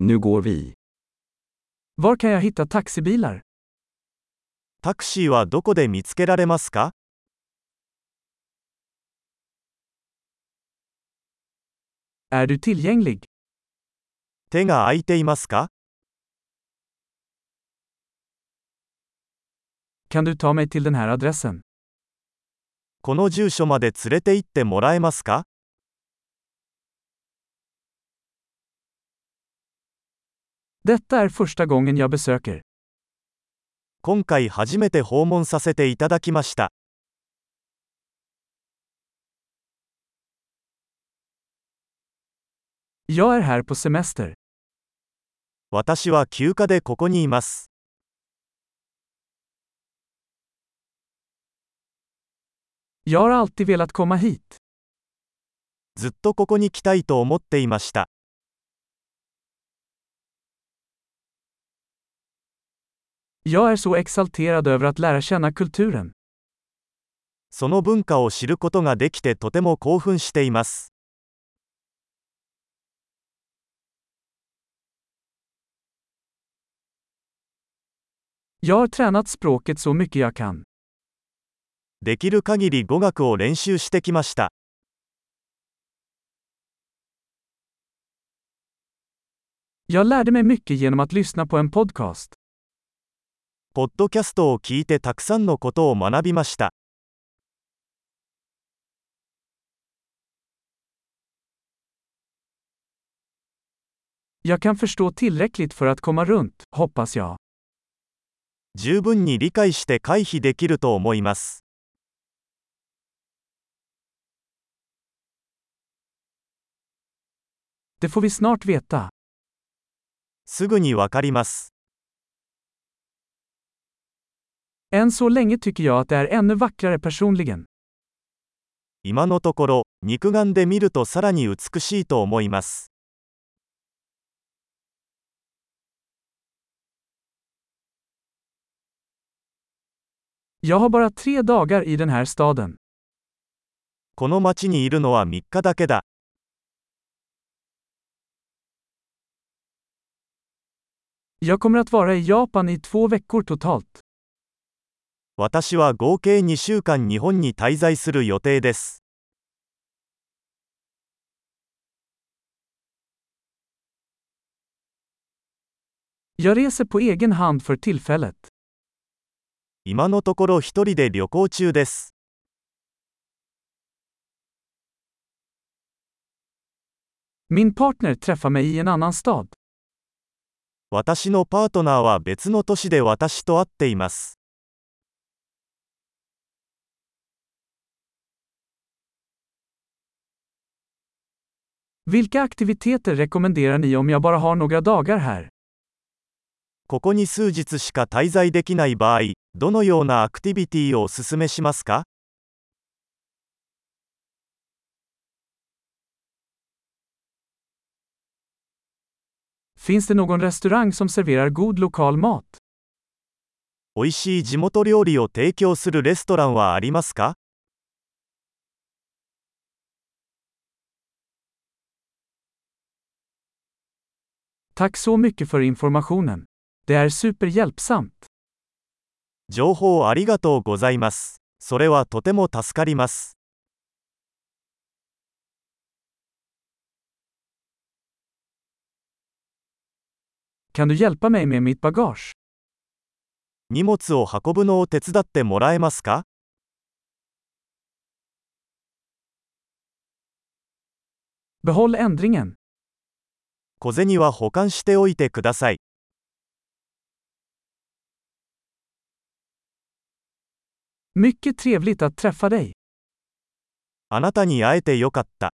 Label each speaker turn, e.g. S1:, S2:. S1: Nu går vi.
S2: Var kan jag hitta taxibilar?
S3: タクシーはどこで見つけられますか
S2: Är du tillgänglig?
S3: 手が空いていますか
S2: Kan du ta mig till den här adressen?
S3: この住所まで連れて行ってもらえますか
S2: Detta är första gången jag besöker.
S3: 今回初めて訪問させていただきました。
S2: Jag är här på semester.
S3: 私は休暇でここにいます。
S2: Jag har alltid velat komma hit.
S3: ずっとここに来たいと思っていました。
S2: Jag är så exalterad över att lära känna kulturen.
S3: その文化を知ることができてとても興奮しています。
S2: Jag har tränat språket så mycket jag kan.
S3: できる限り語学を練習してきました。
S2: Jag lärde mig mycket genom att lyssna på en podcast.
S3: ポッドキャストを聞いてたくさんのことを学びました。
S2: Jag kan förstå tillräckligt för att komma runt, hoppas jag.
S3: 十分に理解して回避できると思います。
S2: Det får vi snart veta.
S3: すぐにわかります。
S2: Än så länge tycker jag att det är ännu vackrare personligen.
S3: 今のところ、肉眼で見るとさらに美しいと思います。
S2: Jag har bara tre dagar i den här staden.
S3: この町にいるのは3日だけだ。
S2: Jag kommer att vara i Japan i två veckor totalt.
S3: 私は合計2週間日本に滞在する予定です。
S2: Jag reser på egen hand för tillfället.
S3: 今のところ一人で旅行中です。
S2: Min partner träffar mig i en annan stad.
S3: 私のパートナーは別の都市で私と会っています。
S2: Vilka aktiviteter rekommenderar ni om jag bara har några dagar här?
S3: ここに数日しか滞在できない場合、どのようなアクティビティをお勧めしますか
S2: Finns det någon restaurang som serverar god lokal mat?
S3: 美味しい地元料理を提供するレストランはありますか
S2: Tack så mycket för informationen. Det är superhjälpsamt.
S3: 情報ありがとうございます。それはとても助かります。
S2: Kan du hjälpa mig med mitt bagage?
S3: 荷物を運ぶのを手伝ってもらえますか
S2: Behåll ändringen.
S3: 小銭は保管しておいてください。
S2: Mycket trevligt att träffa dig.
S3: あなたに会えてよかった。